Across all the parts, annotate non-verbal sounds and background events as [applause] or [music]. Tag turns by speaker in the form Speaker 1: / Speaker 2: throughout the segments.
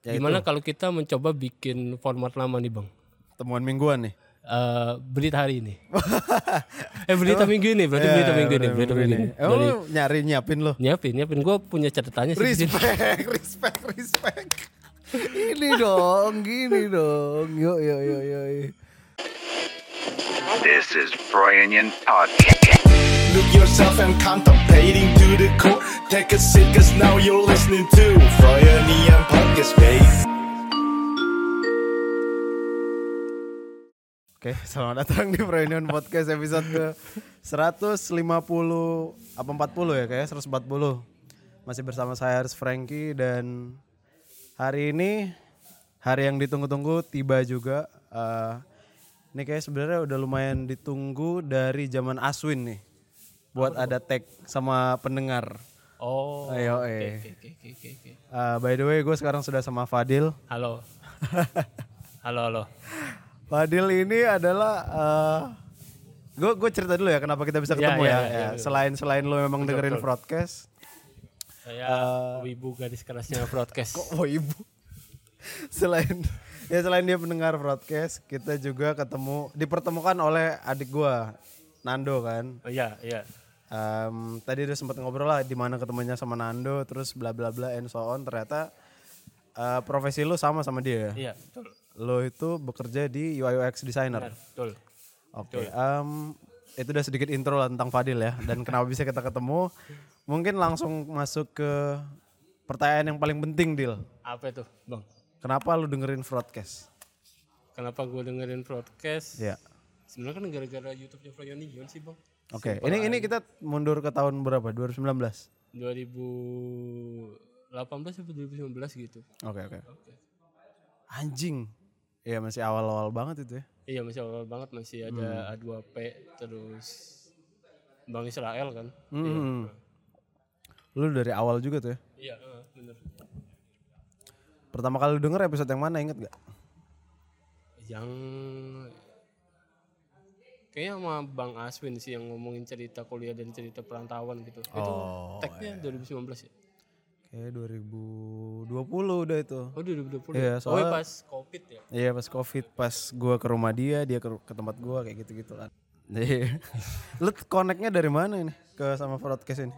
Speaker 1: Ya,
Speaker 2: Gimana kalau kita mencoba bikin format lama nih bang?
Speaker 1: Temuan mingguan nih.
Speaker 2: Eh berita hari ini. eh berita minggu ini berarti
Speaker 1: Ya, Iya,
Speaker 2: berita minggu ini berita minggu ini.
Speaker 1: Eh,
Speaker 2: Dari-
Speaker 1: lu nyari nyiapin lo.
Speaker 2: Nyiapin nyiapin gue punya catatannya sih. di sini.
Speaker 1: Oh. Respect, respect, respect. Ini dong, gini dong. Yuk, yuk, yuk, yuk. yuk.
Speaker 3: This is Brian Podcast.
Speaker 4: Look yourself and contemplating to the core. Take a seat, cause now you're listening to Fire Neon Podcast, babe.
Speaker 1: Oke, selamat datang di Reunion Podcast episode ke 150 apa 40 ya kayak 140. Masih bersama saya Haris Franky dan hari ini hari yang ditunggu-tunggu tiba juga. Eh, ini kayak sebenarnya udah lumayan ditunggu dari zaman Aswin nih. Buat ada tag sama pendengar.
Speaker 2: [laughs] Oh.
Speaker 1: Ayo
Speaker 2: oke,
Speaker 1: eh.
Speaker 2: oke, oke, oke, oke.
Speaker 1: Eh, by the way, gue sekarang sudah sama Fadil.
Speaker 2: Halo. Halo halo.
Speaker 1: Fadil ini adalah gue gue cerita dulu ya kenapa kita
Speaker 2: Ya,
Speaker 1: bisa ketemu
Speaker 2: ya,
Speaker 1: ya.
Speaker 2: ya,
Speaker 1: ya. Selain selain lo memang dengerin broadcast,
Speaker 2: Saya Wibu garis kerasnya broadcast.
Speaker 1: oh ibu. [laughs] selain ya selain dia pendengar broadcast, kita juga ketemu dipertemukan oleh adik gue Nando kan.
Speaker 2: Oh, Iya iya.
Speaker 1: Em, tadi udah sempat ngobrol lah di mana ketemunya sama Nando, terus bla bla bla and so on. Ternyata eh, profesi lo sama sama dia.
Speaker 2: Iya betul
Speaker 1: Lo itu bekerja di UI UX designer.
Speaker 2: betul.
Speaker 1: Oke, em, itu udah sedikit intro lah tentang Fadil ya dan kenapa bisa kita ketemu. Mungkin langsung masuk ke pertanyaan yang paling penting, Dil.
Speaker 2: Apa itu bang?
Speaker 1: Kenapa lu dengerin broadcast?
Speaker 2: Kenapa gue dengerin broadcast?
Speaker 1: Ya.
Speaker 2: Sebenarnya kan gara-gara YouTube-nya Froyoni Yon sih bang.
Speaker 1: Oke, ini ini kita mundur ke tahun berapa? 2019.
Speaker 2: 2018 atau 2019 gitu.
Speaker 1: Oke, oke. Anjing. Iya, masih awal-awal banget itu ya.
Speaker 2: Iya masih awal banget masih ada A2P terus Bang Israel kan.
Speaker 1: Hmm. Lu dari awal juga tuh ya.
Speaker 2: Iya eh, bener.
Speaker 1: Pertama kali lu denger episode yang mana inget gak?
Speaker 2: Yang kayaknya sama Bang Aswin sih yang ngomongin cerita kuliah dan cerita perantauan gitu. itu tagnya 2019 ya.
Speaker 1: Kayak 2020 udah itu.
Speaker 2: Oh 2020.
Speaker 1: Iya,
Speaker 2: oh
Speaker 1: soalnya-
Speaker 2: pas Covid ya.
Speaker 1: Iya pas covid pas gua ke rumah dia dia ke, ke tempat gua kayak gitu gitu kan. Jadi [laughs] lu connectnya dari mana ini ke sama broadcast ini?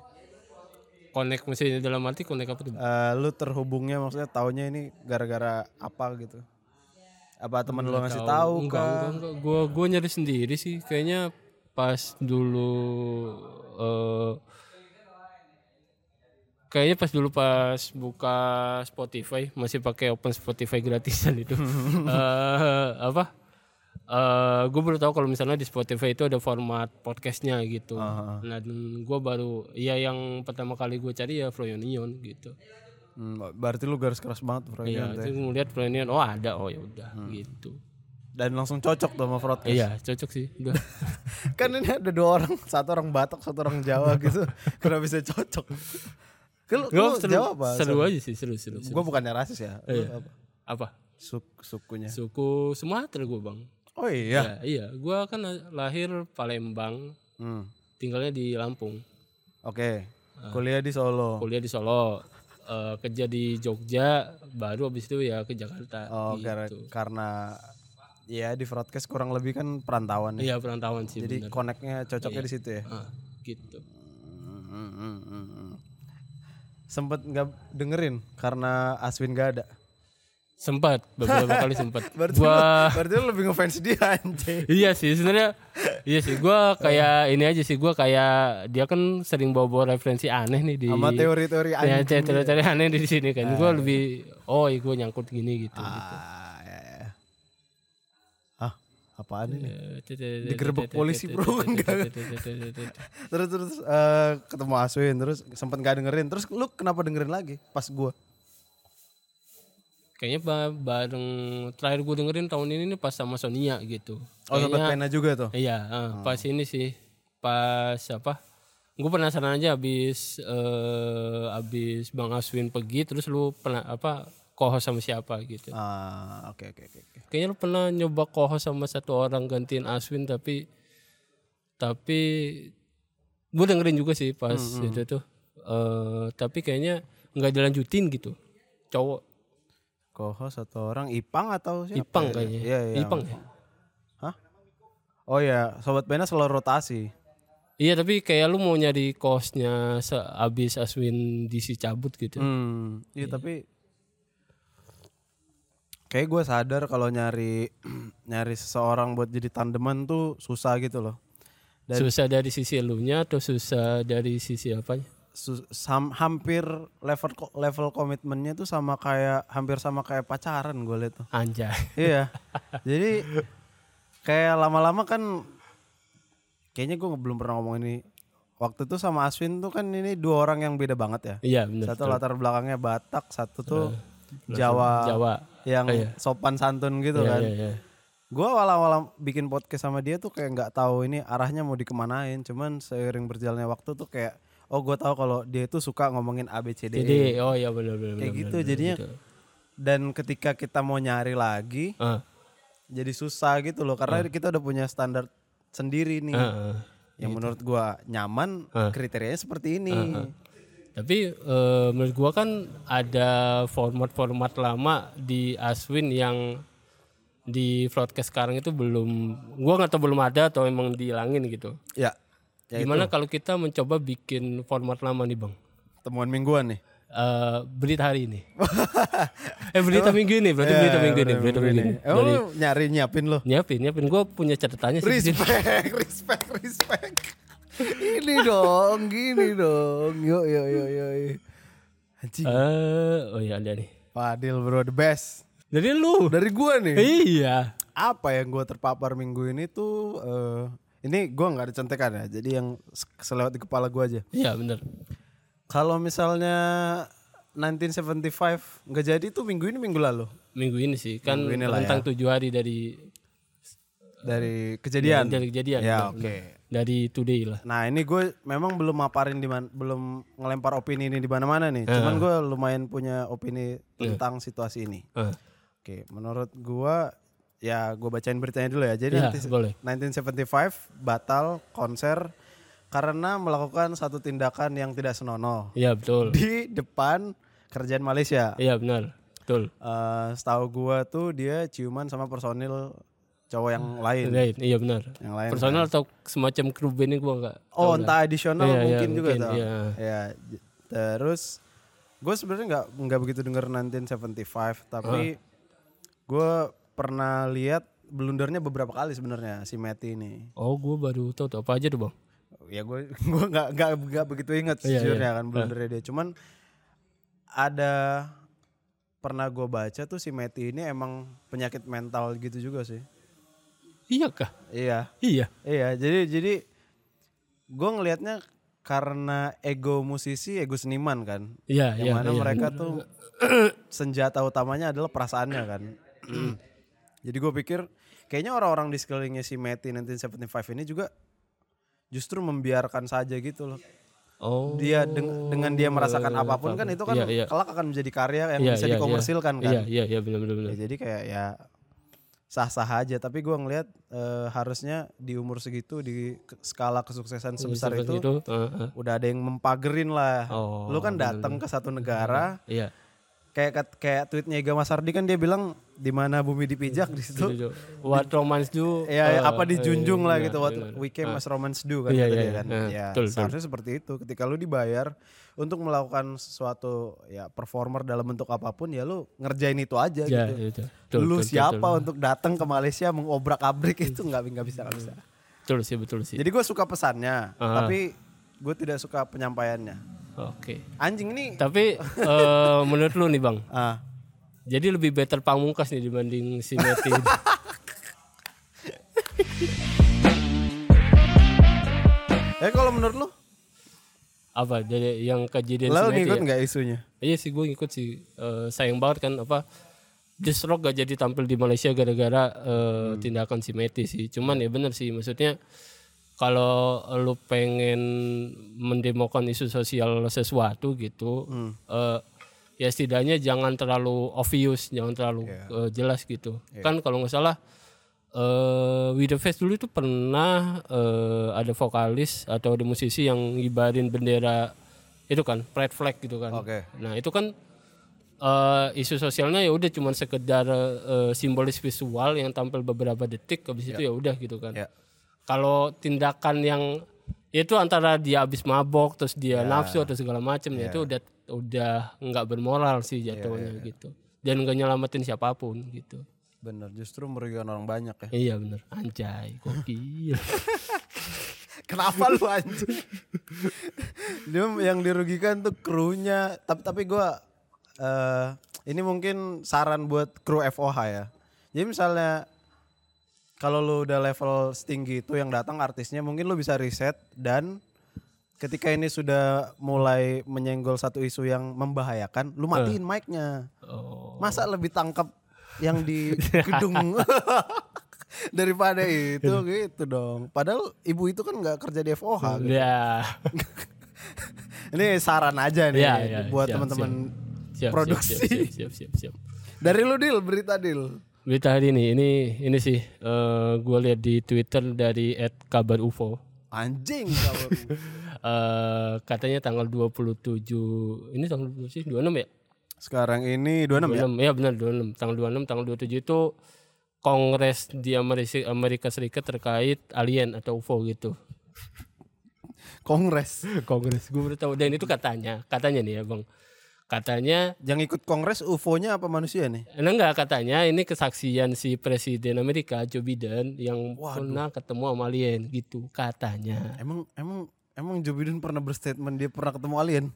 Speaker 2: Connect maksudnya dalam arti connect apa tuh?
Speaker 1: Eh, lu terhubungnya maksudnya taunya ini gara-gara apa gitu? Apa teman lu ngasih tahu
Speaker 2: enggak, enggak,
Speaker 1: kah?
Speaker 2: enggak. Gua gua nyari sendiri sih. Kayaknya pas dulu eh kayaknya pas dulu pas buka Spotify masih pakai open Spotify gratisan itu. Eh, apa? Eh gue baru tahu kalau misalnya di Spotify itu ada format podcastnya gitu. Nah, dan gue baru ya yang pertama kali gue cari ya Froyonion gitu.
Speaker 1: Hmm, berarti lu garis keras banget bro ini
Speaker 2: Iya,
Speaker 1: berarti.
Speaker 2: itu ngeliat Froyonion, oh ada, oh ya udah gitu.
Speaker 1: Dan langsung cocok tuh sama broadcast.
Speaker 2: Iya, cocok sih. Udah.
Speaker 1: kan ini ada dua orang, satu orang Batak, satu orang Jawa gitu. [laughs] Kenapa bisa cocok? Lu,
Speaker 2: Gak
Speaker 1: lu
Speaker 2: seru,
Speaker 1: Jawa apa?
Speaker 2: seru Iya. aja sih, seru, seru. seru.
Speaker 1: Gue bukannya rasis ya. Lu apa?
Speaker 2: Apa?
Speaker 1: Suk- sukunya.
Speaker 2: Suku Sumatera gue bang.
Speaker 1: Oh
Speaker 2: Ya,
Speaker 1: iya.
Speaker 2: iya, gue kan la- lahir Palembang,
Speaker 1: Hmm.
Speaker 2: tinggalnya di Lampung,
Speaker 1: Oke. Kuliah di Solo.
Speaker 2: Ah. kuliah di Solo, eh, kerja di Jogja, baru abis itu ya ke Jakarta.
Speaker 1: Oh, gara-
Speaker 2: gitu.
Speaker 1: karena ya di broadcast kurang lebih kan perantauan
Speaker 2: Iya
Speaker 1: ya.
Speaker 2: perantauan sih
Speaker 1: Jadi
Speaker 2: bener.
Speaker 1: connectnya cocoknya di situ ya.
Speaker 2: Ah, gitu.
Speaker 1: Sempet nggak dengerin karena Aswin gak ada.
Speaker 2: Sempat beberapa
Speaker 1: [laughs]
Speaker 2: kali sempat.
Speaker 1: Berarti
Speaker 2: Gua
Speaker 1: lu, berarti lu lebih ngefans dia anjing.
Speaker 2: Iya sih sebenarnya iya sih gua
Speaker 1: Eh.
Speaker 2: kayak ini aja sih gua kayak dia kan sering bawa-bawa referensi aneh nih di
Speaker 1: Sama teori-teori
Speaker 2: Ya,
Speaker 1: anjing.
Speaker 2: teori-teori aneh di sini kan. Gue lebih oh, iya gue nyangkut gini gitu.
Speaker 1: Ah, ya, ya. Hah, apaan ini?
Speaker 2: Iya. Digerebek
Speaker 1: polisi,
Speaker 2: [laughs]
Speaker 1: bro. Enggak. [laughs] Terus terus eh, ketemu Aswin terus sempet nggak dengerin. Terus lu kenapa dengerin lagi pas gua?
Speaker 2: Kayaknya ba- bareng terakhir gue dengerin tahun ini nih pas sama Sonia gitu.
Speaker 1: Oh, sempet
Speaker 2: Kayaknya-
Speaker 1: pena juga tuh.
Speaker 2: Iya, eh,
Speaker 1: Hmm.
Speaker 2: pas ini sih. Pas apa? Gue penasaran aja abis eh, abis Bang Aswin pergi terus lu pernah apa kohos sama siapa gitu.
Speaker 1: Ah, oke oke oke. oke.
Speaker 2: Kayaknya lu pernah nyoba kohos sama satu orang gantiin Aswin tapi tapi gue dengerin juga sih pas
Speaker 1: Hmm,
Speaker 2: itu tuh. Eh, tapi kayaknya nggak dilanjutin gitu. Cowok.
Speaker 1: Co-host atau orang Ipang atau siapa?
Speaker 2: Ipang
Speaker 1: ya?
Speaker 2: kayaknya.
Speaker 1: Iya, iya.
Speaker 2: Ipang ya?
Speaker 1: Hah? Oh iya, sobat pena selalu rotasi.
Speaker 2: Iya tapi kayak lu mau nyari kosnya seabis Aswin DC cabut gitu.
Speaker 1: Hmm, iya tapi kayak gue sadar kalau nyari [clears throat] nyari seseorang buat jadi tandeman tuh susah gitu loh. Dan
Speaker 2: susah dari sisi elunya atau susah dari sisi apanya?
Speaker 1: su- sam- hampir level ko- level komitmennya tuh sama kayak hampir sama kayak pacaran gue liat tuh.
Speaker 2: Anjay. [laughs]
Speaker 1: [laughs] iya. Jadi kayak lama-lama kan kayaknya gue belum pernah ngomong ini. Waktu itu sama Aswin tuh kan ini dua orang yang beda banget ya.
Speaker 2: Iya benar.
Speaker 1: satu latar belakangnya Batak, satu tuh
Speaker 2: betul.
Speaker 1: Jawa,
Speaker 2: Jawa.
Speaker 1: yang
Speaker 2: Oh, iya.
Speaker 1: sopan santun gitu
Speaker 2: Iya,
Speaker 1: kan.
Speaker 2: iya, iya.
Speaker 1: Gue awal-awal bikin podcast sama dia tuh kayak nggak tahu ini arahnya mau dikemanain, cuman seiring berjalannya waktu tuh kayak oh gue tahu kalau dia tuh suka ngomongin ABCD
Speaker 2: Jadi oh iya benar benar.
Speaker 1: kayak
Speaker 2: benar,
Speaker 1: E gitu
Speaker 2: benar,
Speaker 1: jadinya.
Speaker 2: gitu.
Speaker 1: Dan ketika kita mau nyari lagi,
Speaker 2: Ah,
Speaker 1: jadi susah gitu loh karena
Speaker 2: Iya.
Speaker 1: kita udah punya standar sendiri nih.
Speaker 2: ah, ah.
Speaker 1: yang menurut gua nyaman kriterianya seperti ini.
Speaker 2: Tapi eh, menurut gua kan ada format-format lama di Aswin yang di broadcast sekarang itu belum gua nggak tahu belum ada atau emang dihilangin gitu.
Speaker 1: Ya. Ya
Speaker 2: Gimana kalau kita mencoba bikin format lama nih bang?
Speaker 1: temuan mingguan nih.
Speaker 2: Eh, berita hari ini. eh berita
Speaker 1: Oh.
Speaker 2: minggu ini berarti
Speaker 1: Iya,
Speaker 2: berita minggu ini berita minggu ini.
Speaker 1: [laughs] Eh,
Speaker 2: Dari-
Speaker 1: lu nyari nyiapin lo.
Speaker 2: nyiapin nyiapin gue punya catatannya sih. di sini.
Speaker 1: Respect, respect, respect. ini dong, gini dong. Yuk, yuk, yuk, yuk.
Speaker 2: [laughs]
Speaker 1: Anjing,
Speaker 2: Eh, oh iya ada nih.
Speaker 1: Fadil bro the best.
Speaker 2: Dari lu.
Speaker 1: Dari gua nih.
Speaker 2: Iya.
Speaker 1: Apa yang gua terpapar minggu ini tuh eh, ini gua nggak ada contekan ya. Jadi yang se- selewat di kepala gua aja.
Speaker 2: Iya bener.
Speaker 1: Kalau misalnya 1975 nggak jadi tuh minggu ini minggu lalu
Speaker 2: Minggu ini sih kan
Speaker 1: Minggu ini lah ya.
Speaker 2: tentang tujuh hari dari
Speaker 1: dari kejadian.
Speaker 2: dari kejadian.
Speaker 1: Ya
Speaker 2: bener,
Speaker 1: oke.
Speaker 2: bener. Dari today lah.
Speaker 1: Nah ini gue memang belum maparin di man- belum ngelempar opini ini di mana-mana nih.
Speaker 2: Eh.
Speaker 1: Cuman gue lumayan punya opini tentang situasi ini.
Speaker 2: Ah,
Speaker 1: Oke, menurut gue ya gue bacain beritanya dulu ya. Jadi
Speaker 2: Ya,
Speaker 1: nanti
Speaker 2: boleh.
Speaker 1: 1975 batal konser karena melakukan satu tindakan yang tidak senonoh
Speaker 2: Iya betul.
Speaker 1: di depan kerjaan Malaysia.
Speaker 2: Iya benar. Betul.
Speaker 1: Eh, setahu gue tuh dia ciuman sama personil cowok yang lain.
Speaker 2: Right, iya benar.
Speaker 1: Yang lain
Speaker 2: Personal atau semacam crew band ini gue enggak.
Speaker 1: Oh entah additional
Speaker 2: Iya, iya,
Speaker 1: mungkin juga
Speaker 2: mungkin,
Speaker 1: tau.
Speaker 2: iya.
Speaker 1: Ya j- terus gue sebenarnya nggak nggak begitu denger 1975 tapi gue pernah lihat blundernya beberapa kali sebenarnya si Matty ini.
Speaker 2: Oh gue baru tahu tuh apa aja tuh bang.
Speaker 1: Ya gue gua [laughs] nggak nggak nggak begitu ingat
Speaker 2: Iya,
Speaker 1: sejujurnya
Speaker 2: iya.
Speaker 1: kan blundernya dia. Cuman ada pernah gue baca tuh si Matty ini emang penyakit mental gitu juga sih.
Speaker 2: Iya kah?
Speaker 1: Iya.
Speaker 2: Iya.
Speaker 1: Iya, jadi jadi gue ngelihatnya karena ego musisi, ego seniman kan.
Speaker 2: Iya,
Speaker 1: Yang
Speaker 2: iya,
Speaker 1: mana
Speaker 2: iya,
Speaker 1: mereka tuh senjata utamanya adalah perasaannya kan. [clears throat] jadi gue pikir kayaknya orang-orang di sekelilingnya si Matty 1975 ini juga justru membiarkan saja gitu loh.
Speaker 2: Oh.
Speaker 1: Dia deng- dengan dia merasakan apapun kan itu kan
Speaker 2: Iya, iya.
Speaker 1: kelak akan menjadi karya yang
Speaker 2: Iya,
Speaker 1: bisa
Speaker 2: iya, iya.
Speaker 1: dikomersilkan kan.
Speaker 2: Iya iya iya benar benar. benar.
Speaker 1: Ya, jadi kayak ya sah-sah aja. Tapi gua ngelihat eh, harusnya di umur segitu di ke- skala kesuksesan sebesar
Speaker 2: Seperti
Speaker 1: itu,
Speaker 2: ah, ah.
Speaker 1: udah ada yang mempagerin lah.
Speaker 2: Oh,
Speaker 1: Lu kan datang ke satu negara.
Speaker 2: Iya.
Speaker 1: Kayak kat- kayak tweetnya Iga Mas Ardi kan dia bilang di mana bumi dipijak di situ.
Speaker 2: Setuju. What romance do?
Speaker 1: Ya, ya,
Speaker 2: eh,
Speaker 1: apa dijunjung
Speaker 2: eh,
Speaker 1: lah
Speaker 2: iya,
Speaker 1: gitu. What
Speaker 2: benar.
Speaker 1: we came as romance do kan
Speaker 2: Iya,
Speaker 1: kata
Speaker 2: iya,
Speaker 1: dia
Speaker 2: iya.
Speaker 1: kan.
Speaker 2: Nah,
Speaker 1: Ya,
Speaker 2: betul, betul.
Speaker 1: seharusnya seperti itu. Ketika lu dibayar untuk melakukan sesuatu ya performer dalam bentuk apapun ya lu ngerjain itu aja
Speaker 2: Iya,
Speaker 1: gitu
Speaker 2: iya, iya. Betul,
Speaker 1: lu
Speaker 2: betul,
Speaker 1: siapa
Speaker 2: betul. Iya.
Speaker 1: untuk datang ke Malaysia mengobrak-abrik itu nggak nggak bisa nggak bisa.
Speaker 2: Betul sih, betul sih.
Speaker 1: Jadi gue suka pesannya,
Speaker 2: Iya. Ah.
Speaker 1: tapi gue tidak suka penyampaiannya.
Speaker 2: Oke.
Speaker 1: Anjing ini
Speaker 2: Tapi eh, menurut lu nih, Bang.
Speaker 1: ah
Speaker 2: Jadi lebih better Pamungkas nih dibanding si Meti.
Speaker 1: Eh kalau menurut lu,
Speaker 2: apa dari yang kejadian si
Speaker 1: lo
Speaker 2: Meti
Speaker 1: ngikut
Speaker 2: ya?
Speaker 1: nggak isunya?
Speaker 2: Iya sih gue ngikut sih Eh, sayang banget kan apa Just Rock gak jadi tampil di Malaysia gara-gara eh, tindakan si Meti sih. Cuman ya bener sih maksudnya kalau lu pengen mendemokan isu sosial sesuatu gitu eh, ya setidaknya jangan terlalu obvious, jangan terlalu eh, jelas gitu. Kan kalau nggak salah eh With The Face dulu itu pernah eh, ada vokalis atau ada musisi yang ngibarin bendera itu kan pride flag gitu kan.
Speaker 1: Oke.
Speaker 2: Nah itu kan eh, isu sosialnya ya udah cuman sekedar eh, simbolis visual yang tampil beberapa detik habis itu ya udah gitu kan
Speaker 1: Ya.
Speaker 2: kalau tindakan yang ya itu antara dia habis mabok terus dia nafsu atau segala macam ya itu udah udah nggak bermoral sih jatuhnya gitu dan nggak nyelamatin siapapun gitu
Speaker 1: Bener, justru merugikan orang banyak ya.
Speaker 2: iya bener anjay gokil [laughs]
Speaker 1: Kenapa lu anjing? [laughs] Dia yang dirugikan tuh krunya. Tapi tapi gua eh ini mungkin saran buat kru FOH ya. Jadi misalnya kalau lu udah level setinggi itu yang datang artisnya mungkin lu bisa riset dan ketika ini sudah mulai menyenggol satu isu yang membahayakan, lu matiin mic-nya.
Speaker 2: Oh.
Speaker 1: Masa lebih tangkap yang di gedung daripada itu gitu dong. Padahal ibu itu kan nggak kerja di FOH. gitu.
Speaker 2: ya
Speaker 1: [laughs] Ini saran aja nih
Speaker 2: Ya, ya,
Speaker 1: buat
Speaker 2: siap,
Speaker 1: teman-teman
Speaker 2: siap, siap,
Speaker 1: Produksi.
Speaker 2: siap, siap, siap, siap, siap.
Speaker 1: dari lu deal berita deal.
Speaker 2: berita hari ini ini ini sih eh gue lihat di twitter dari
Speaker 1: [laughs]
Speaker 2: @kabarufo
Speaker 1: Anjing kamu.
Speaker 2: eh katanya tanggal 27 ini tanggal berapa sih 26
Speaker 1: Iya.
Speaker 2: ya
Speaker 1: Sekarang ini 26
Speaker 2: 26
Speaker 1: ya.
Speaker 2: ya benar 26 tanggal 26 tanggal 27 itu kongres di Amerika, Amerika Serikat terkait alien atau UFO gitu
Speaker 1: Kongres.
Speaker 2: kongres gue baru tahu dan itu katanya katanya nih ya bang katanya
Speaker 1: Yang ikut kongres UFO-nya apa manusia nih?
Speaker 2: eh, enggak katanya ini kesaksian si presiden Amerika Joe Biden yang pernah ketemu sama alien gitu katanya
Speaker 1: Emang emang emang Joe Biden pernah berstatement dia pernah ketemu alien?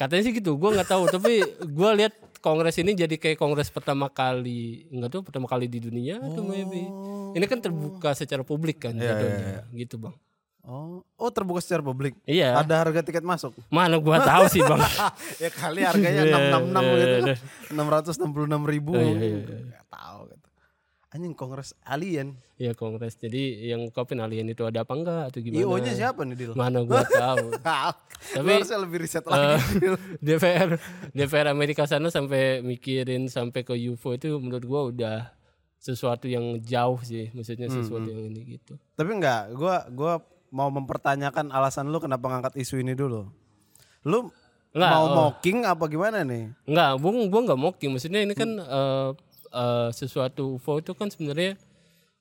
Speaker 2: katanya sih gitu gua nggak tahu tapi gua lihat kongres ini jadi kayak kongres pertama kali nggak tahu pertama kali di dunia atau maybe ini kan terbuka secara publik kan jadinya. gitu bang
Speaker 1: Oh, oh terbuka secara publik.
Speaker 2: Iya.
Speaker 1: Ada harga tiket masuk.
Speaker 2: Mana gua tahu sih bang.
Speaker 1: ya kali harganya
Speaker 2: [laughs] Iya,
Speaker 1: 666 gitu
Speaker 2: iya,
Speaker 1: kan. 666 ribu.
Speaker 2: iya,
Speaker 1: mungkin.
Speaker 2: iya.
Speaker 1: Nggak tahu gitu. Anjing kongres alien.
Speaker 2: ya kongres. Jadi yang kopin alien itu ada apa enggak atau gimana?
Speaker 1: IO-nya siapa nih [laughs] Dil?
Speaker 2: Mana gua tahu.
Speaker 1: Tapi
Speaker 2: Tapi,
Speaker 1: harusnya lebih riset lagi.
Speaker 2: [laughs]
Speaker 1: Dil.
Speaker 2: DPR DPR Eh, Amerika sana sampai mikirin sampai ke UFO itu menurut gua udah sesuatu yang jauh sih. Maksudnya sesuatu yang ini gitu.
Speaker 1: Tapi enggak, gua gua mau mempertanyakan alasan lu kenapa ngangkat isu ini dulu. Lu
Speaker 2: Nggak,
Speaker 1: mau
Speaker 2: oh.
Speaker 1: mocking apa gimana nih?
Speaker 2: Enggak, gua gua enggak mau. Maksudnya ini kan eh, eh, sesuatu UFO itu kan sebenarnya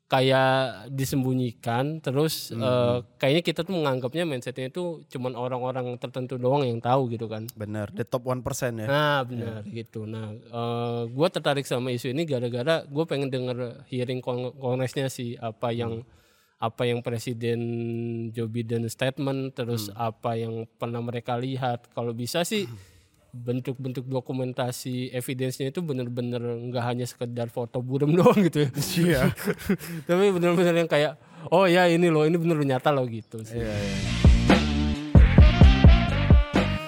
Speaker 2: kayak disembunyikan terus eh, kayaknya kita tuh menganggapnya mindsetnya itu cuman orang-orang tertentu doang yang tahu gitu kan
Speaker 1: Bener, the top 1% ya.
Speaker 2: Nah benar gitu. Nah, eh gue tertarik sama isu ini gara-gara gue pengen denger hearing kong- kongresnya sih apa yang apa yang Presiden Joe Biden statement, terus apa yang pernah mereka lihat. Kalau bisa sih bentuk-bentuk dokumentasi evidence-nya itu bener-bener nggak hanya sekedar foto burem [laughs] doang gitu ya. Iya. [laughs] Tapi bener-bener yang kayak oh ya ini loh, ini bener nyata loh gitu sih.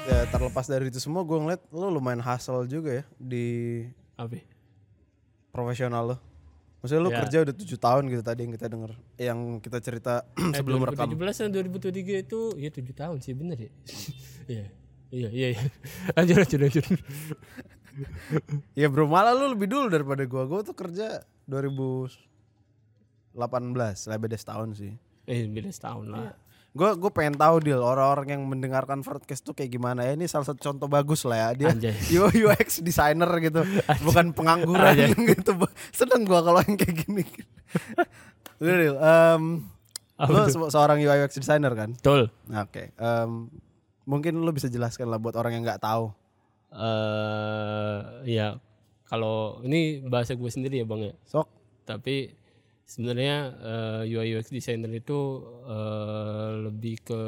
Speaker 1: Ya, terlepas dari itu semua gue ngeliat lu lumayan hustle juga ya di
Speaker 2: Apa?
Speaker 1: profesional lo. Maksudnya lu
Speaker 2: Ya.
Speaker 1: kerja udah tujuh tahun gitu tadi yang kita denger, yang kita cerita [clears throat]
Speaker 2: Eh,
Speaker 1: sebelum rekam.
Speaker 2: 2017 dan 2023 itu ya 7 tahun sih bener ya. [laughs] Iya. Iya, iya, iya. [laughs] Lanjut, lanjut, lanjut. [laughs]
Speaker 1: Ya bro, malah lu lebih dulu daripada gua. Gua tuh kerja 2018, lah beda setahun sih.
Speaker 2: Eh, 19 tahun lah.
Speaker 1: Gue gue pengen tahu deal orang-orang yang mendengarkan podcast tuh kayak gimana ya. Ini salah satu contoh bagus lah ya. Dia [laughs]
Speaker 2: Anjay.
Speaker 1: U- UX designer gitu, bukan pengangguran
Speaker 2: Anjay.
Speaker 1: [laughs] gitu. Seneng gua kalau yang kayak gini. [laughs] Lu deal. em,
Speaker 2: Apa
Speaker 1: lu
Speaker 2: tuh?
Speaker 1: se- seorang UI UX designer kan?
Speaker 2: Betul.
Speaker 1: Nah, Oke. Em, mungkin lu bisa jelaskan lah buat orang yang nggak tahu.
Speaker 2: Eh, ya kalau ini bahasa gue sendiri ya, Bang ya.
Speaker 1: Sok.
Speaker 2: Tapi sebenarnya eh, UI UX designer itu eh, lebih ke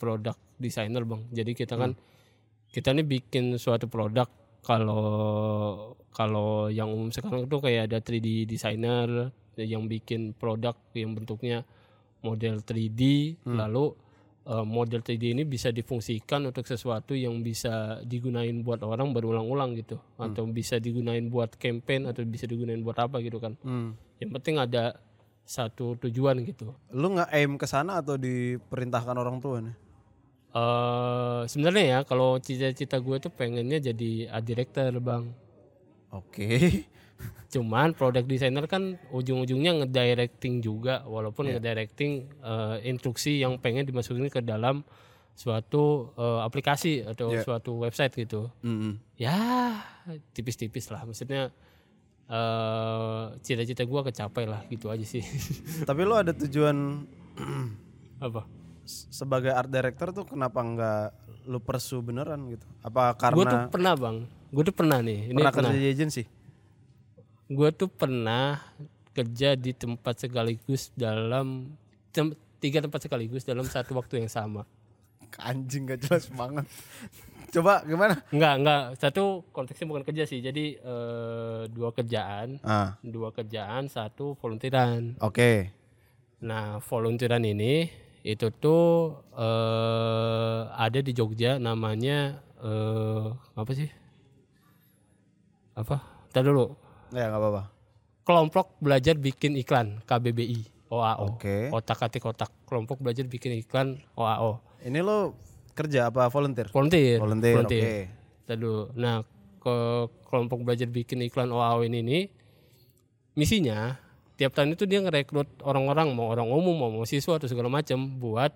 Speaker 2: produk designer, Bang. Jadi kita kan kita nih bikin suatu produk kalau kalau yang umum sekarang itu kayak ada 3D designer yang bikin produk yang bentuknya model 3D lalu eh, model 3D ini bisa difungsikan untuk sesuatu yang bisa digunain buat orang berulang-ulang gitu atau bisa digunain buat campaign atau bisa digunain buat apa gitu kan
Speaker 1: Hmm.
Speaker 2: yang penting ada satu tujuan gitu
Speaker 1: Lu nggak aim ke sana atau diperintahkan orang tua nih?
Speaker 2: eh sebenarnya ya kalau cita-cita gue tuh pengennya jadi art director bang
Speaker 1: Oke.
Speaker 2: cuman product designer kan ujung-ujungnya
Speaker 1: Iya.
Speaker 2: ngedirecting juga walaupun ngedirecting eh, instruksi yang pengen dimasukin ke dalam suatu eh, aplikasi atau
Speaker 1: Iya.
Speaker 2: suatu website gitu
Speaker 1: [laughs] Mm-mm.
Speaker 2: ya tipis-tipis lah maksudnya eh cita-cita gua kecapai lah gitu aja sih [laughs]
Speaker 1: Tapi lu ada tujuan
Speaker 2: apa
Speaker 1: s- sebagai art director tuh kenapa nggak lu pursue beneran gitu? Apa karena
Speaker 2: gue tuh pernah bang gue tuh pernah nih ini
Speaker 1: pernah
Speaker 2: pernah,
Speaker 1: kerja di agency?
Speaker 2: gue tuh pernah kerja di tempat sekaligus dalam tem- tiga tempat sekaligus dalam satu waktu yang sama
Speaker 1: [laughs] Anjing gak jelas banget. [laughs] Coba gimana?
Speaker 2: Enggak, enggak. Satu konteksnya bukan kerja sih. Jadi eh, dua kerjaan,
Speaker 1: Ah,
Speaker 2: dua kerjaan, satu volunteeran.
Speaker 1: oke.
Speaker 2: Nah, volunteeran ini itu tuh eh ada di Jogja namanya eh apa sih? Apa? Tadi dulu.
Speaker 1: Ya nggak apa-apa.
Speaker 2: Kelompok Belajar Bikin Iklan KBBI OAO.
Speaker 1: Oke.
Speaker 2: Otak atik otak. Kelompok Belajar Bikin Iklan OAO.
Speaker 1: Ini lo kerja apa volunteer?
Speaker 2: Volunteer.
Speaker 1: Volunteer, oke.
Speaker 2: Ntar dulu. Nah, ke kelompok belajar bikin iklan OAO ini nih misinya tiap tahun itu dia ngerekrut orang-orang mau orang umum mau mau siswa atau segala macam buat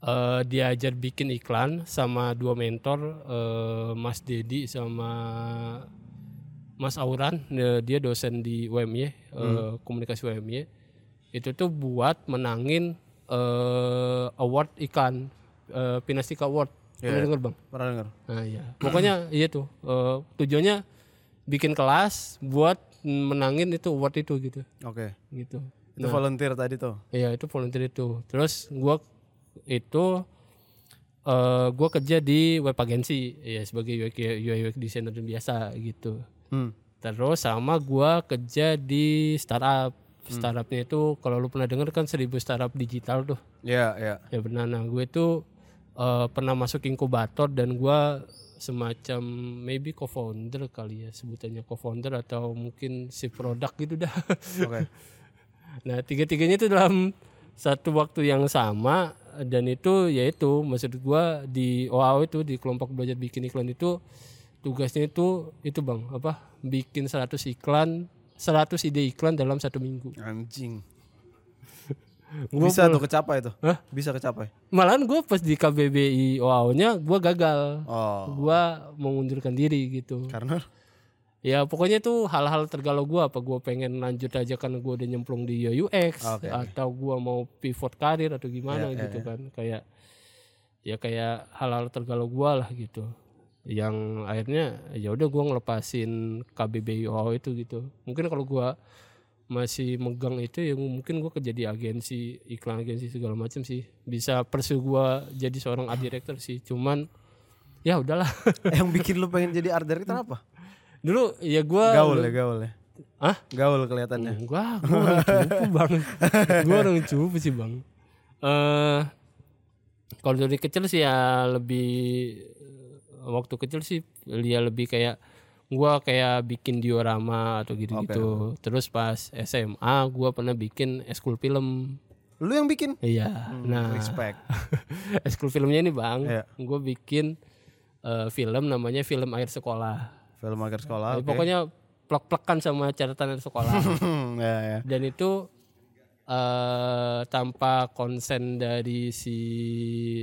Speaker 2: eh, diajar bikin iklan sama dua mentor eh, Mas Dedi sama Mas Auran eh, dia dosen di UMY eh,
Speaker 1: Hmm.
Speaker 2: komunikasi UMY itu tuh buat menangin eh, award iklan eh, Pinastika Award
Speaker 1: Iya.
Speaker 2: Pernah denger, bang
Speaker 1: Pernah denger?
Speaker 2: Nah, iya. Pokoknya iya tuh eh, tujuannya bikin kelas buat menangin itu award itu gitu.
Speaker 1: Oke.
Speaker 2: Gitu.
Speaker 1: Itu volunteer tadi tuh.
Speaker 2: Iya, itu volunteer itu. Terus gua itu eh gua kerja di web agency ya sebagai UI UI UX designer biasa gitu.
Speaker 1: Hmm.
Speaker 2: Terus sama gua kerja di startup. Startupnya itu kalau lu pernah denger kan 1000 startup digital tuh.
Speaker 1: Ya, ya.
Speaker 2: Ya benar. Nah, gue tuh eh, pernah masuk inkubator dan gua semacam maybe co-founder kali ya sebutannya co-founder atau mungkin si produk gitu dah.
Speaker 1: Oke.
Speaker 2: [laughs] nah, tiga-tiganya itu dalam satu waktu yang sama dan itu yaitu maksud gua di OAO itu di kelompok belajar bikin iklan itu tugasnya itu itu Bang apa bikin 100 iklan 100 ide iklan dalam satu minggu.
Speaker 1: Anjing.
Speaker 2: Gua
Speaker 1: Bisa tuh kecapai tuh.
Speaker 2: Hah?
Speaker 1: Bisa kecapai.
Speaker 2: Malahan gue pas di KBBI OAO-nya gua gagal.
Speaker 1: Oh.
Speaker 2: gua mengundurkan diri gitu
Speaker 1: [laughs]
Speaker 2: [laughs]
Speaker 1: Karena
Speaker 2: ya pokoknya itu hal-hal tergalau gua apa gua pengen lanjut aja karena gua udah nyemplung di UX
Speaker 1: Oke, oke.
Speaker 2: atau gua mau pivot karir atau gimana
Speaker 1: Ya, ya,
Speaker 2: gitu kan kayak ya kayak hal-hal tergalau gua lah gitu yang akhirnya ya udah gua ngelepasin KBBI OAO itu gitu mungkin kalau gua masih megang itu ya mungkin gua kerja di agensi iklan agensi segala macam sih bisa persu gua jadi seorang art director sih cuman ya udahlah [laughs]
Speaker 1: yang bikin lu pengen jadi art director apa?
Speaker 2: dulu ya gua
Speaker 1: Gaul ya, gaul ya.
Speaker 2: Hah?
Speaker 1: Gaul kelihatannya.
Speaker 2: gua gua orang cupu bang gua orang cupu sih bang eh kalau dari kecil sih ya lebih eh, waktu kecil sih dia lebih kayak gua kayak bikin diorama atau gitu-gitu terus pas SMA gua pernah bikin eskul film
Speaker 1: Lu yang bikin.
Speaker 2: iya nah
Speaker 1: Hmm, Respect.
Speaker 2: [laughs] eskul filmnya ini bang
Speaker 1: Iya.
Speaker 2: gua bikin eh, film namanya film air sekolah
Speaker 1: Film agar sekolah.
Speaker 2: Jadi
Speaker 1: [laughs] oke.
Speaker 2: pokoknya plek-plekan sama catatan air sekolah
Speaker 1: Hmm, ya,
Speaker 2: [laughs]
Speaker 1: ya.
Speaker 2: dan itu eh tanpa konsen dari si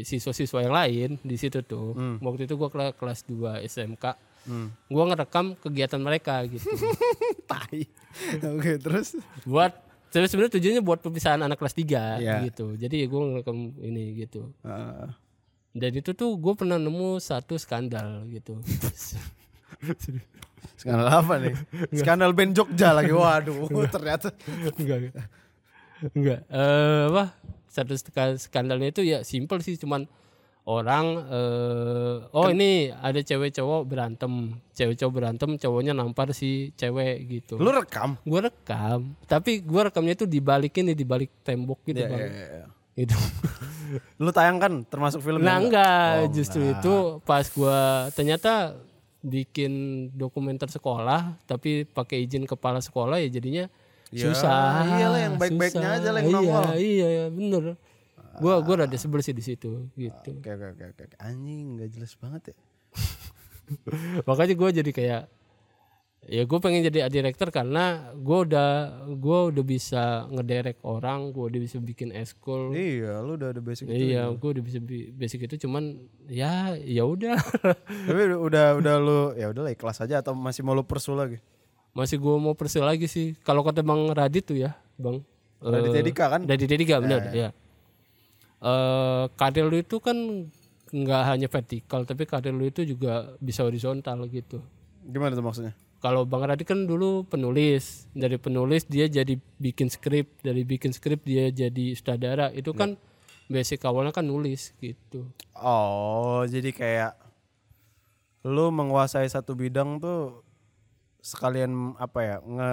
Speaker 2: siswa-siswa yang lain di situ tuh waktu itu gua kela- kelas 2 SMK gua ngerekam kegiatan mereka gitu [laughs]
Speaker 1: Tai. [laughs] Oke, terus
Speaker 2: buat terus sebenarnya tujuannya buat perpisahan anak kelas 3
Speaker 1: Iya.
Speaker 2: gitu jadi gua ngerekam ini gitu
Speaker 1: Ah,
Speaker 2: dan itu tuh gue pernah nemu satu skandal gitu
Speaker 1: skandal apa
Speaker 2: [laughs]
Speaker 1: nih? Skandal band Jogja lagi. Waduh, ternyata
Speaker 2: enggak enggak. enggak eh apa satu ska- skandalnya itu ya simple sih cuman orang eh oh ini ada cewek cowok berantem cewek cowok berantem cowoknya nampar si cewek gitu
Speaker 1: lu rekam.
Speaker 2: gue rekam tapi gue rekamnya itu dibalikin nih dibalik tembok gitu
Speaker 1: Ya,
Speaker 2: bang
Speaker 1: ya, ya, ya.
Speaker 2: gitu [laughs]
Speaker 1: Lu tayangkan termasuk filmnya?
Speaker 2: nah enggak
Speaker 1: Oh,
Speaker 2: justru itu pas gue ternyata bikin dokumenter sekolah tapi pakai izin kepala sekolah ya jadinya
Speaker 1: Ya,
Speaker 2: susah
Speaker 1: iyalah, yang baik-baiknya
Speaker 2: susah.
Speaker 1: aja lah yang
Speaker 2: iya,
Speaker 1: nongol.
Speaker 2: iya iya bener gue gue rada sebel sih di situ gitu
Speaker 1: Oke oke oke oke. Anjing nggak jelas banget ya.
Speaker 2: makanya gue jadi kayak ya gue pengen jadi art director karena gue udah gue udah bisa ngedirect orang gue udah bisa bikin eskul
Speaker 1: Iya, lu udah ada basic itu.
Speaker 2: Hmm. iya gue udah bisa bi- basic itu cuman ya ya udah [laughs]
Speaker 1: Tapi udah udah lu ya udah lah ikhlas aja atau masih mau lu persu lagi?
Speaker 2: masih gue mau persil lagi sih kalau kata bang Radit tuh ya bang
Speaker 1: Radit
Speaker 2: eh,
Speaker 1: Dika kan?
Speaker 2: Radit Dika benar ya Eh, karir lu itu kan nggak hanya vertikal tapi karir lu itu juga bisa horizontal gitu
Speaker 1: Gimana tuh maksudnya?
Speaker 2: kalau Bang Radit kan dulu penulis dari penulis dia jadi bikin skrip dari bikin skrip dia jadi sutradara
Speaker 1: Ya.
Speaker 2: itu kan basic awalnya kan nulis gitu
Speaker 1: Oh, jadi kayak lu menguasai satu bidang tuh sekalian apa ya nge,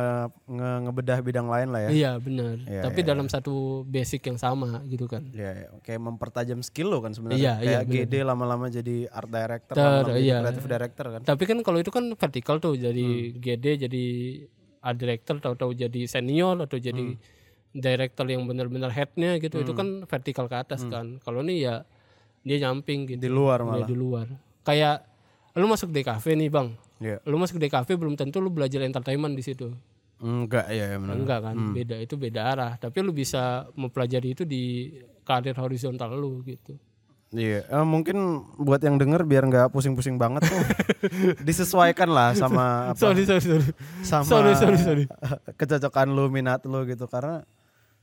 Speaker 1: nge ngebedah bidang lain lah ya.
Speaker 2: iya benar
Speaker 1: Iya,
Speaker 2: tapi
Speaker 1: iya,
Speaker 2: dalam satu basic yang sama gitu kan
Speaker 1: Iya, iya. kayak mempertajam skill lo kan sebenarnya.
Speaker 2: Iya, iya,
Speaker 1: kayak GD lama-lama jadi art director,
Speaker 2: Ter-
Speaker 1: lama-lama jadi
Speaker 2: iya.
Speaker 1: creative director kan.
Speaker 2: tapi kan kalau itu kan vertikal tuh jadi
Speaker 1: Hmm.
Speaker 2: GD jadi art director tahu-tahu jadi senior atau jadi
Speaker 1: Hmm.
Speaker 2: director yang benar-benar headnya gitu itu kan vertikal ke atas kan kalau ini ya dia nyamping gitu
Speaker 1: Iya, Di luar
Speaker 2: Dia
Speaker 1: Hmm. malah.
Speaker 2: di luar kayak lu masuk DKV nih bang
Speaker 1: Iya.
Speaker 2: lu masuk DKV belum tentu lu belajar entertainment di situ
Speaker 1: Enggak, iya iya benar.
Speaker 2: enggak kan beda itu beda arah tapi lu bisa mempelajari itu di karir horizontal lu gitu
Speaker 1: Iya, eh, mungkin buat yang denger biar nggak pusing-pusing banget [laughs] tuh disesuaikan lah sama apa,
Speaker 2: sorry sorry sorry
Speaker 1: sama
Speaker 2: sorry sorry sorry
Speaker 1: [laughs] kecocokan lu, minat lu gitu karena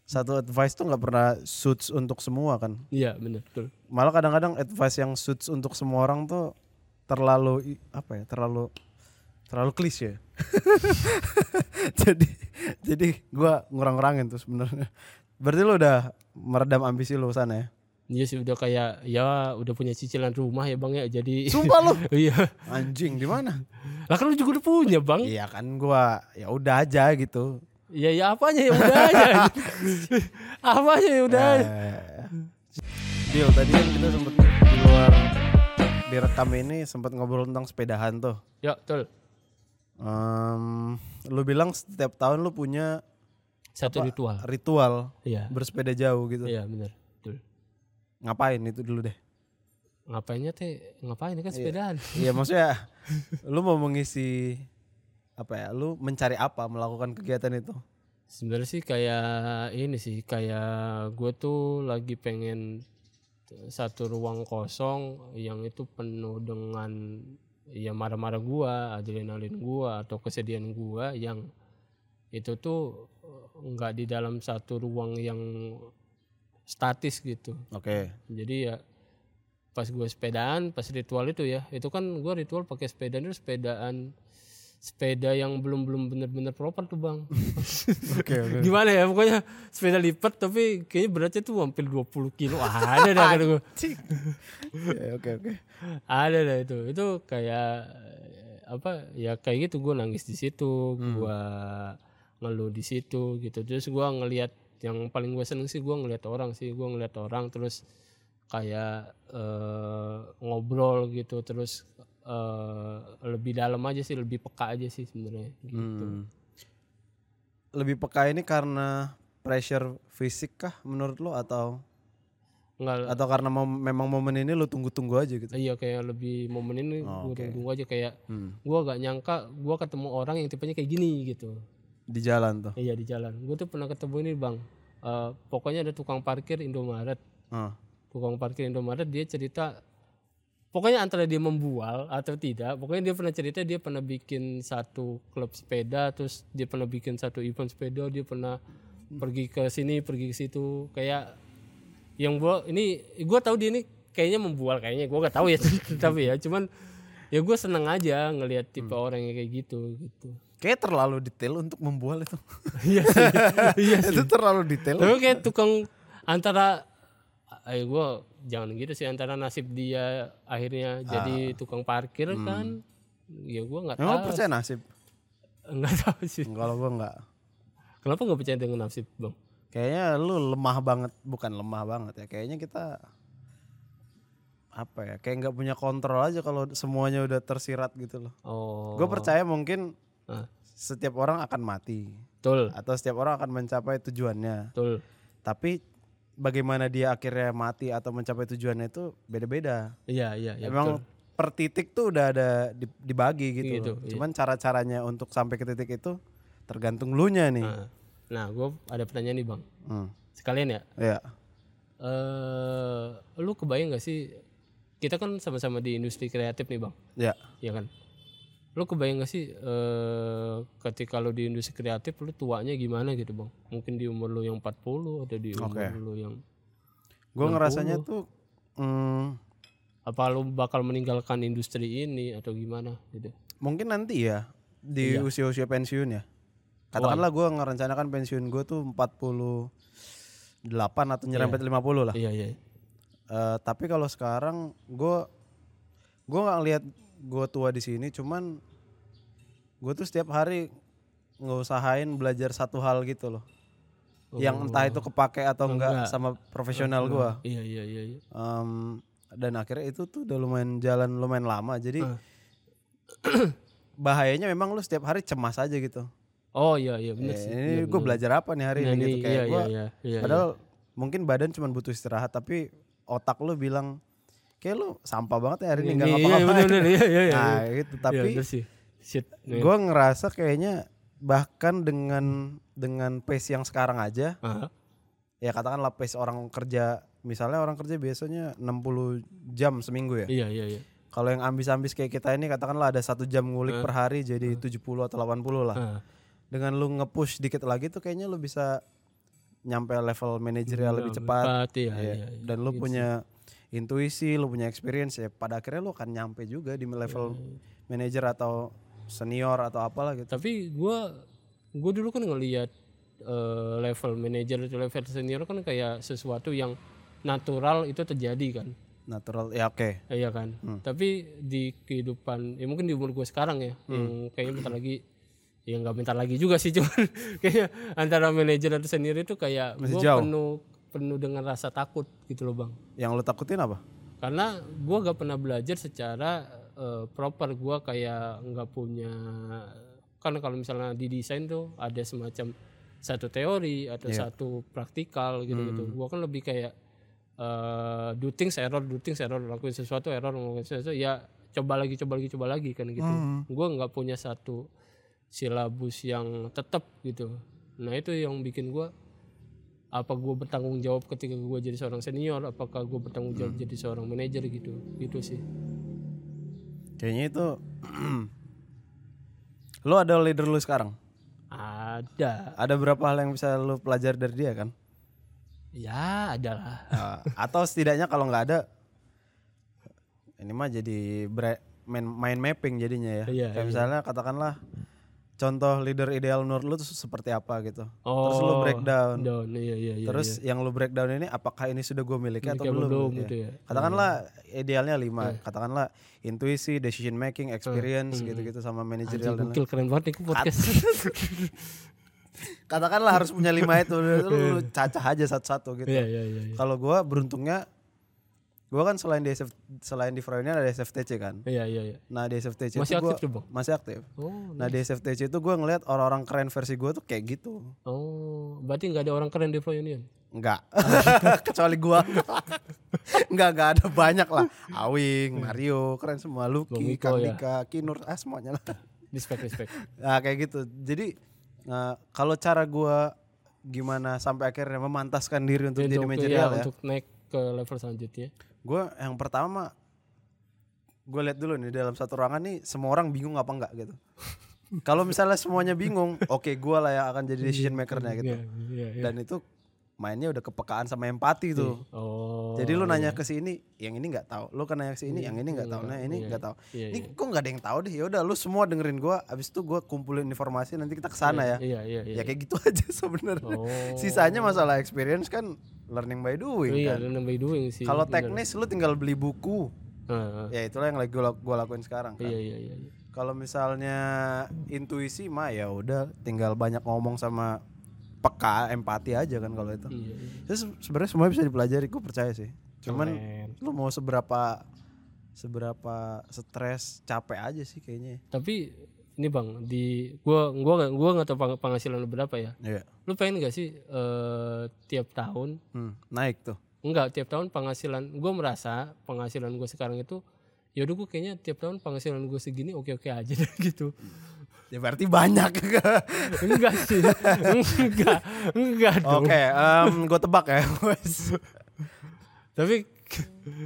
Speaker 1: satu advice tuh nggak pernah suits untuk semua kan.
Speaker 2: iya benar betul
Speaker 1: Malah kadang-kadang advice yang suits untuk semua orang tuh terlalu i- apa ya, terlalu terlalu klise. [laughs] jadi jadi gua ngurang-ngurangin tuh sebenarnya. Berarti lu udah meredam ambisi lu sana ya.
Speaker 2: Iya sih udah kayak ya udah punya cicilan rumah ya bang ya jadi
Speaker 1: Sumpah lu.
Speaker 2: [laughs] iya
Speaker 1: Anjing di mana?
Speaker 2: lah kan lu juga udah punya bang
Speaker 1: Iya kan gua ya udah aja gitu.
Speaker 2: ya ya apanya ya udah
Speaker 1: [laughs]
Speaker 2: aja apanya ya udah
Speaker 1: Nah.
Speaker 2: aja.
Speaker 1: Deal Eh, tadi kan kita sempet di luar direkam ini sempat ngobrol tentang sepedahan tuh.
Speaker 2: ya betul
Speaker 1: Em, lu bilang setiap tahun lu punya
Speaker 2: satu ritual
Speaker 1: ritual
Speaker 2: iya
Speaker 1: bersepeda jauh gitu.
Speaker 2: iya benar betul
Speaker 1: Ngapain itu dulu deh?
Speaker 2: ngapainnya teh ngapain kan sepedaan
Speaker 1: Iya [laughs] maksudnya lu mau mengisi apa ya? Lu mencari apa melakukan kegiatan itu?
Speaker 2: sebenarnya sih kayak ini sih kayak gue tuh lagi pengen satu ruang kosong yang itu penuh dengan ya marah-marah gua, adrenalin gua atau kesedihan gua yang itu tuh nggak di dalam satu ruang yang statis gitu.
Speaker 1: Oke.
Speaker 2: Jadi ya pas gue sepedaan, pas ritual itu ya, itu kan gue ritual pakai sepeda itu sepedaan sepeda yang belum belum bener-bener proper tuh bang.
Speaker 1: Oke, oke.
Speaker 2: Gimana ya pokoknya sepeda lipat tapi kayaknya beratnya tuh hampir 20 kilo Ah, ada dah kata gua.
Speaker 1: [laughs] Iya, Oke, oke.
Speaker 2: Ada dah itu. Itu kayak eh, apa ya kayak gitu gue nangis di situ, gua ngeluh di situ gitu. Terus gua ngelihat yang paling gue seneng sih gua ngelihat orang sih, gua ngelihat orang terus kayak eh, ngobrol gitu terus eh, lebih dalam aja sih, lebih peka aja sih sebenarnya
Speaker 1: Hmm.
Speaker 2: gitu.
Speaker 1: lebih peka ini karena pressure fisik kah menurut lo atau
Speaker 2: Nggak-
Speaker 1: atau karena mau, memang momen ini lo tunggu-tunggu aja gitu?
Speaker 2: Iya kayak lebih momen ini gue
Speaker 1: Oh, oke.
Speaker 2: tunggu aja kayak
Speaker 1: Hmm.
Speaker 2: gua gak nyangka gua ketemu orang yang tipenya kayak gini gitu.
Speaker 1: Di jalan tuh.
Speaker 2: Iya di jalan. Gue tuh pernah ketemu ini bang. Eh, pokoknya ada tukang parkir Indomaret.
Speaker 1: Ah,
Speaker 2: Tukang parkir Indomaret dia cerita. Pokoknya antara dia membual atau tidak. Pokoknya dia pernah cerita dia pernah bikin satu klub sepeda. Terus dia pernah bikin satu event sepeda. Dia pernah pergi ke sini pergi ke situ. Kayak yang gua ini gua tahu dia ini kayaknya membual kayaknya gua gak tahu ya [laughs] tapi ya cuman ya gue seneng aja ngelihat tipe orang yang kayak gitu gitu
Speaker 1: Kayak terlalu detail untuk membual itu.
Speaker 2: iya sih [laughs] iya
Speaker 1: [laughs] itu terlalu detail.
Speaker 2: Tapi kayak tukang antara ayo gue jangan gitu sih antara nasib dia akhirnya jadi tukang parkir kan ya gue nggak
Speaker 1: Memang lu
Speaker 2: tahu [laughs]
Speaker 1: percaya nasib.
Speaker 2: nggak tahu sih
Speaker 1: Kalau gua nggak.
Speaker 2: kenapa nggak percaya dengan nasib bang
Speaker 1: Kayaknya lu lemah banget, bukan lemah banget ya. Kayaknya kita apa ya? Kayak nggak punya kontrol aja kalau semuanya udah tersirat gitu loh.
Speaker 2: oh
Speaker 1: Gue percaya mungkin
Speaker 2: Ah.
Speaker 1: setiap orang akan mati
Speaker 2: betul
Speaker 1: atau setiap orang akan mencapai tujuannya.
Speaker 2: betul
Speaker 1: Tapi bagaimana dia akhirnya mati atau mencapai tujuannya itu beda-beda.
Speaker 2: iya iya iya
Speaker 1: Emang per titik tuh udah ada di- dibagi gitu.
Speaker 2: Gitu,
Speaker 1: loh.
Speaker 2: iya.
Speaker 1: Cuman cara-caranya untuk sampai ke titik itu tergantung lu nya nih.
Speaker 2: Nah, nah gue ada pertanyaan nih bang.
Speaker 1: Hmm.
Speaker 2: Sekalian ya.
Speaker 1: Iya.
Speaker 2: Eh, lu kebayang gak sih? Kita kan sama-sama di industri kreatif nih bang.
Speaker 1: Iya.
Speaker 2: Iya kan? Lu kebayang gak sih eh ketika lu di industri kreatif lu tuanya gimana gitu bang? Mungkin di umur lu yang 40 atau di umur
Speaker 1: Oke.
Speaker 2: lu yang...
Speaker 1: Gue ngerasanya tuh mm,
Speaker 2: Apa lu bakal meninggalkan industri ini atau gimana gitu?
Speaker 1: mungkin nanti ya
Speaker 2: Iya.
Speaker 1: di usia-usia pensiun ya. Katakanlah gue ngerencanakan pensiun gue tuh 48 atau nyerempet 50 lah.
Speaker 2: Iya, iya.
Speaker 1: Eh, tapi kalau sekarang gue gue nggak lihat gue tua di sini, cuman gue tuh setiap hari nggak usahain belajar satu hal gitu loh, yang
Speaker 2: Oh.
Speaker 1: entah itu kepake atau enggak, sama profesional gue.
Speaker 2: Iya, iya, iya. iya.
Speaker 1: Em, dan akhirnya itu tuh udah lumayan jalan lumayan lama, jadi
Speaker 2: Ah.
Speaker 1: [coughs] bahayanya memang lu setiap hari cemas aja gitu.
Speaker 2: Oh iya, iya bener sih.
Speaker 1: Eh, ini gue belajar apa nih hari
Speaker 2: Nah,
Speaker 1: ini gitu
Speaker 2: ini-
Speaker 1: kayak
Speaker 2: iya, iya,
Speaker 1: gua-
Speaker 2: iya, iya,
Speaker 1: padahal mungkin badan cuma butuh istirahat tapi otak lu bilang kayak lu sampah banget ya hari ini nggak
Speaker 2: Iya, iya,
Speaker 1: ngapa-ngapain
Speaker 2: bener, bener, iya, iya, iya.
Speaker 1: nah gitu
Speaker 2: Iya,
Speaker 1: tapi
Speaker 2: bener sih. Shit.
Speaker 1: gua ngerasa kayaknya bahkan dengan dengan pace yang sekarang aja
Speaker 2: Aha.
Speaker 1: ya katakanlah pace orang kerja misalnya orang kerja biasanya 60 jam seminggu ya
Speaker 2: Iya, iya, iya.
Speaker 1: kalau yang ambis-ambis kayak kita ini katakanlah ada satu jam ngulik per hari jadi 70 atau 80 lah
Speaker 2: Ah.
Speaker 1: dengan lu nge-push dikit lagi tuh kayaknya lu bisa nyampe level manajerial lebih cepat
Speaker 2: iya,
Speaker 1: Iya.
Speaker 2: iya, iya.
Speaker 1: dan lu punya intuisi lu punya experience ya pada akhirnya lu akan nyampe juga di level manager atau senior atau apalah gitu
Speaker 2: tapi gua gue dulu kan ngelihat eh, level manajer atau level senior kan kayak sesuatu yang natural itu terjadi kan
Speaker 1: natural ya oke
Speaker 2: Eh, iya kan
Speaker 1: Hmm.
Speaker 2: tapi di kehidupan ya mungkin di umur gue sekarang ya
Speaker 1: Hmm.
Speaker 2: yang kayaknya bentar lagi ya nggak bentar lagi juga sih [laughs] cuman kayaknya antara manajer atau senior itu kayak gue
Speaker 1: Masih jauh.
Speaker 2: penuh penuh dengan rasa takut gitu loh bang
Speaker 1: yang lu takutin apa
Speaker 2: karena gua gak pernah belajar secara eh, proper gua kayak nggak punya kan kalau misalnya di desain tuh ada semacam satu teori atau satu praktikal gitu-gitu Gua kan lebih kayak eh do things error do things error lakuin sesuatu error lakuin sesuatu ya coba lagi coba lagi coba lagi kan gitu Gua nggak punya satu silabus yang tetap gitu nah itu yang bikin gua apa gue bertanggung jawab ketika gue jadi seorang senior apakah gue bertanggung
Speaker 1: Hmm.
Speaker 2: jawab jadi seorang manajer gitu gitu sih
Speaker 1: kayaknya itu [clears throat] lu ada leader lu sekarang
Speaker 2: ada
Speaker 1: ada berapa hal yang bisa lu pelajari dari dia kan
Speaker 2: ya adalah
Speaker 1: Eh, atau setidaknya kalau nggak ada ini mah jadi bre- main, main mapping jadinya ya.
Speaker 2: Iya,
Speaker 1: Kayak misalnya katakanlah contoh leader ideal menurut lu tuh seperti apa gitu. Terus lu
Speaker 2: Oh,
Speaker 1: breakdown.
Speaker 2: down iya iya iya
Speaker 1: Terus yang lu breakdown ini apakah ini sudah gue miliki
Speaker 2: Miliki
Speaker 1: atau
Speaker 2: apa
Speaker 1: belum?
Speaker 2: belum
Speaker 1: Iya.
Speaker 2: gitu ya. iya.
Speaker 1: Katakanlah idealnya lima. Katakanlah intuisi, decision making, experience gitu-gitu sama
Speaker 2: Hmm. Anjing,
Speaker 1: manajerial dan lain.
Speaker 2: gokil keren banget nih ke podcast
Speaker 1: [laughs] Katakanlah harus punya lima itu. Lu lu cacah aja satu-satu gitu.
Speaker 2: iya iya iya iya.
Speaker 1: Kalau gua beruntungnya gua kan selain di SF, selain di Froyonian ada SFTC kan.
Speaker 2: iya iya iya
Speaker 1: Nah, di SFTC
Speaker 2: Masih
Speaker 1: itu gua-
Speaker 2: aktif tuh, Bang?
Speaker 1: Masih aktif.
Speaker 2: oh
Speaker 1: Nah, di SFTC itu gua ngeliat orang-orang keren versi gua tuh kayak gitu.
Speaker 2: oh berarti nggak ada orang keren di Flow Union [laughs]
Speaker 1: Enggak. Kecuali gua. Enggak, enggak ada banyak lah. Awing, Mario, keren semua. Lucky,
Speaker 2: Miko
Speaker 1: Kang
Speaker 2: ya.
Speaker 1: Dika, Kinur, ah semuanya lah.
Speaker 2: respect respect
Speaker 1: Nah, kayak gitu. Jadi nah, kalau cara gua gimana sampai akhirnya memantaskan diri untuk [laughs] jadi
Speaker 2: Untuk-
Speaker 1: manajerial ya.
Speaker 2: untuk naik ke level selanjutnya
Speaker 1: gue yang pertama gue lihat dulu nih dalam satu ruangan nih semua orang bingung apa enggak
Speaker 2: [laughs]
Speaker 1: gitu kalau misalnya semuanya bingung oke gue lah yang akan jadi decision makernya gitu
Speaker 2: iya iya iya.
Speaker 1: dan itu mainnya udah kepekaan sama empati tuh
Speaker 2: oh
Speaker 1: jadi lu nanya ke sini yang ini nggak tahu lu kan nanya ke sini yang ini nggak tahu nah ini nggak tahu
Speaker 2: Iya,
Speaker 1: ini kok nggak ada yang tahu deh ya udah lu semua dengerin gue abis itu gue kumpulin informasi nanti kita kesana ya
Speaker 2: iya iya iya Oh.
Speaker 1: ya kayak gitu [laughs] aja sebenarnya sisanya masalah experience kan learning by doing
Speaker 2: iya
Speaker 1: kan
Speaker 2: lu nambah doing sih
Speaker 1: kalau
Speaker 2: bener.
Speaker 1: teknis lu tinggal beli buku
Speaker 2: Ah, ah.
Speaker 1: ya itulah yang lagi gue lakuin sekarang kan.
Speaker 2: iya iya iya iya.
Speaker 1: kalau misalnya intuisi mah ya udah tinggal banyak ngomong sama peka empati aja kan kalau itu
Speaker 2: Iya, iya.
Speaker 1: Terus sebenarnya semua bisa dipelajari gue percaya sih cuman
Speaker 2: Keren.
Speaker 1: lu mau seberapa seberapa stres capek aja sih kayaknya
Speaker 2: Tapi ini bang di gua gua nggak- gua nggak tahu peng- penghasilan lu berapa ya.
Speaker 1: Iya.
Speaker 2: Lu pengen gak sih eh, tiap tahun?
Speaker 1: Hmm, naik tuh
Speaker 2: Enggak tiap tahun penghasilan. Gua merasa penghasilan gua sekarang itu yaudah gue kayaknya tiap tahun penghasilan gue segini oke oke aja deh [laughs] gitu
Speaker 1: Ya berarti banyak. [laughs]
Speaker 2: enggak sih [laughs] enggak enggak dong
Speaker 1: Oke, gue tebak ya. [laughs]
Speaker 2: tapi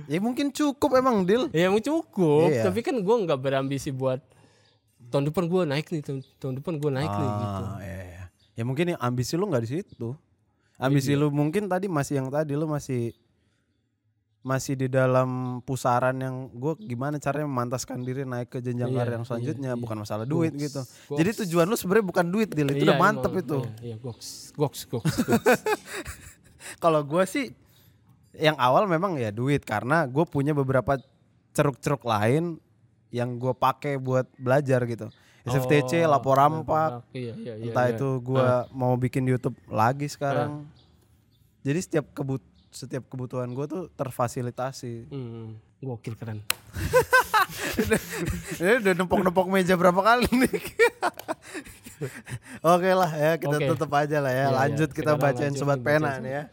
Speaker 1: ya mungkin cukup emang deal.
Speaker 2: ya emang cukup
Speaker 1: Iya.
Speaker 2: tapi kan gue nggak berambisi buat tahun depan gue naik nih tahun, tahun depan gue naik nih gitu
Speaker 1: Ah, iya, iya. Ya mungkin yang ambisi lu nggak di situ. Ambisi
Speaker 2: Iya.
Speaker 1: lu mungkin tadi masih yang tadi lu masih masih di dalam pusaran yang gue gimana caranya memantaskan diri naik ke jenjang
Speaker 2: Iya,
Speaker 1: karir yang selanjutnya bukan masalah duit gitu. Jadi tujuan lu sebenarnya bukan duit deal itu
Speaker 2: Iya,
Speaker 1: udah mantep
Speaker 2: emang.
Speaker 1: itu.
Speaker 2: iya, iya goks goks goks, goks.
Speaker 1: Kalau gue sih yang awal memang ya duit karena gue punya beberapa ceruk-ceruk lain yang gue pakai buat belajar gitu. SFTC,
Speaker 2: Oh,
Speaker 1: lapor rampak,
Speaker 2: iya, iya, iya, iya.
Speaker 1: entah
Speaker 2: Ah.
Speaker 1: itu gua mau bikin YouTube lagi sekarang. Jadi setiap kebut setiap kebutuhan gua tuh [laughs] terfasilitasi.
Speaker 2: Hmm, gokil keren.
Speaker 1: Ini Eh, udah nempok-nempok meja berapa kali nih? Oke lah ya kita
Speaker 2: Oke.
Speaker 1: tutup aja lah ya.
Speaker 2: Iya, iya.
Speaker 1: Lanjut
Speaker 2: Sekarang
Speaker 1: kita bacain
Speaker 2: Iya, lanjut
Speaker 1: sobat
Speaker 2: nih, bacain
Speaker 1: pena
Speaker 2: sobat-
Speaker 1: nih ya.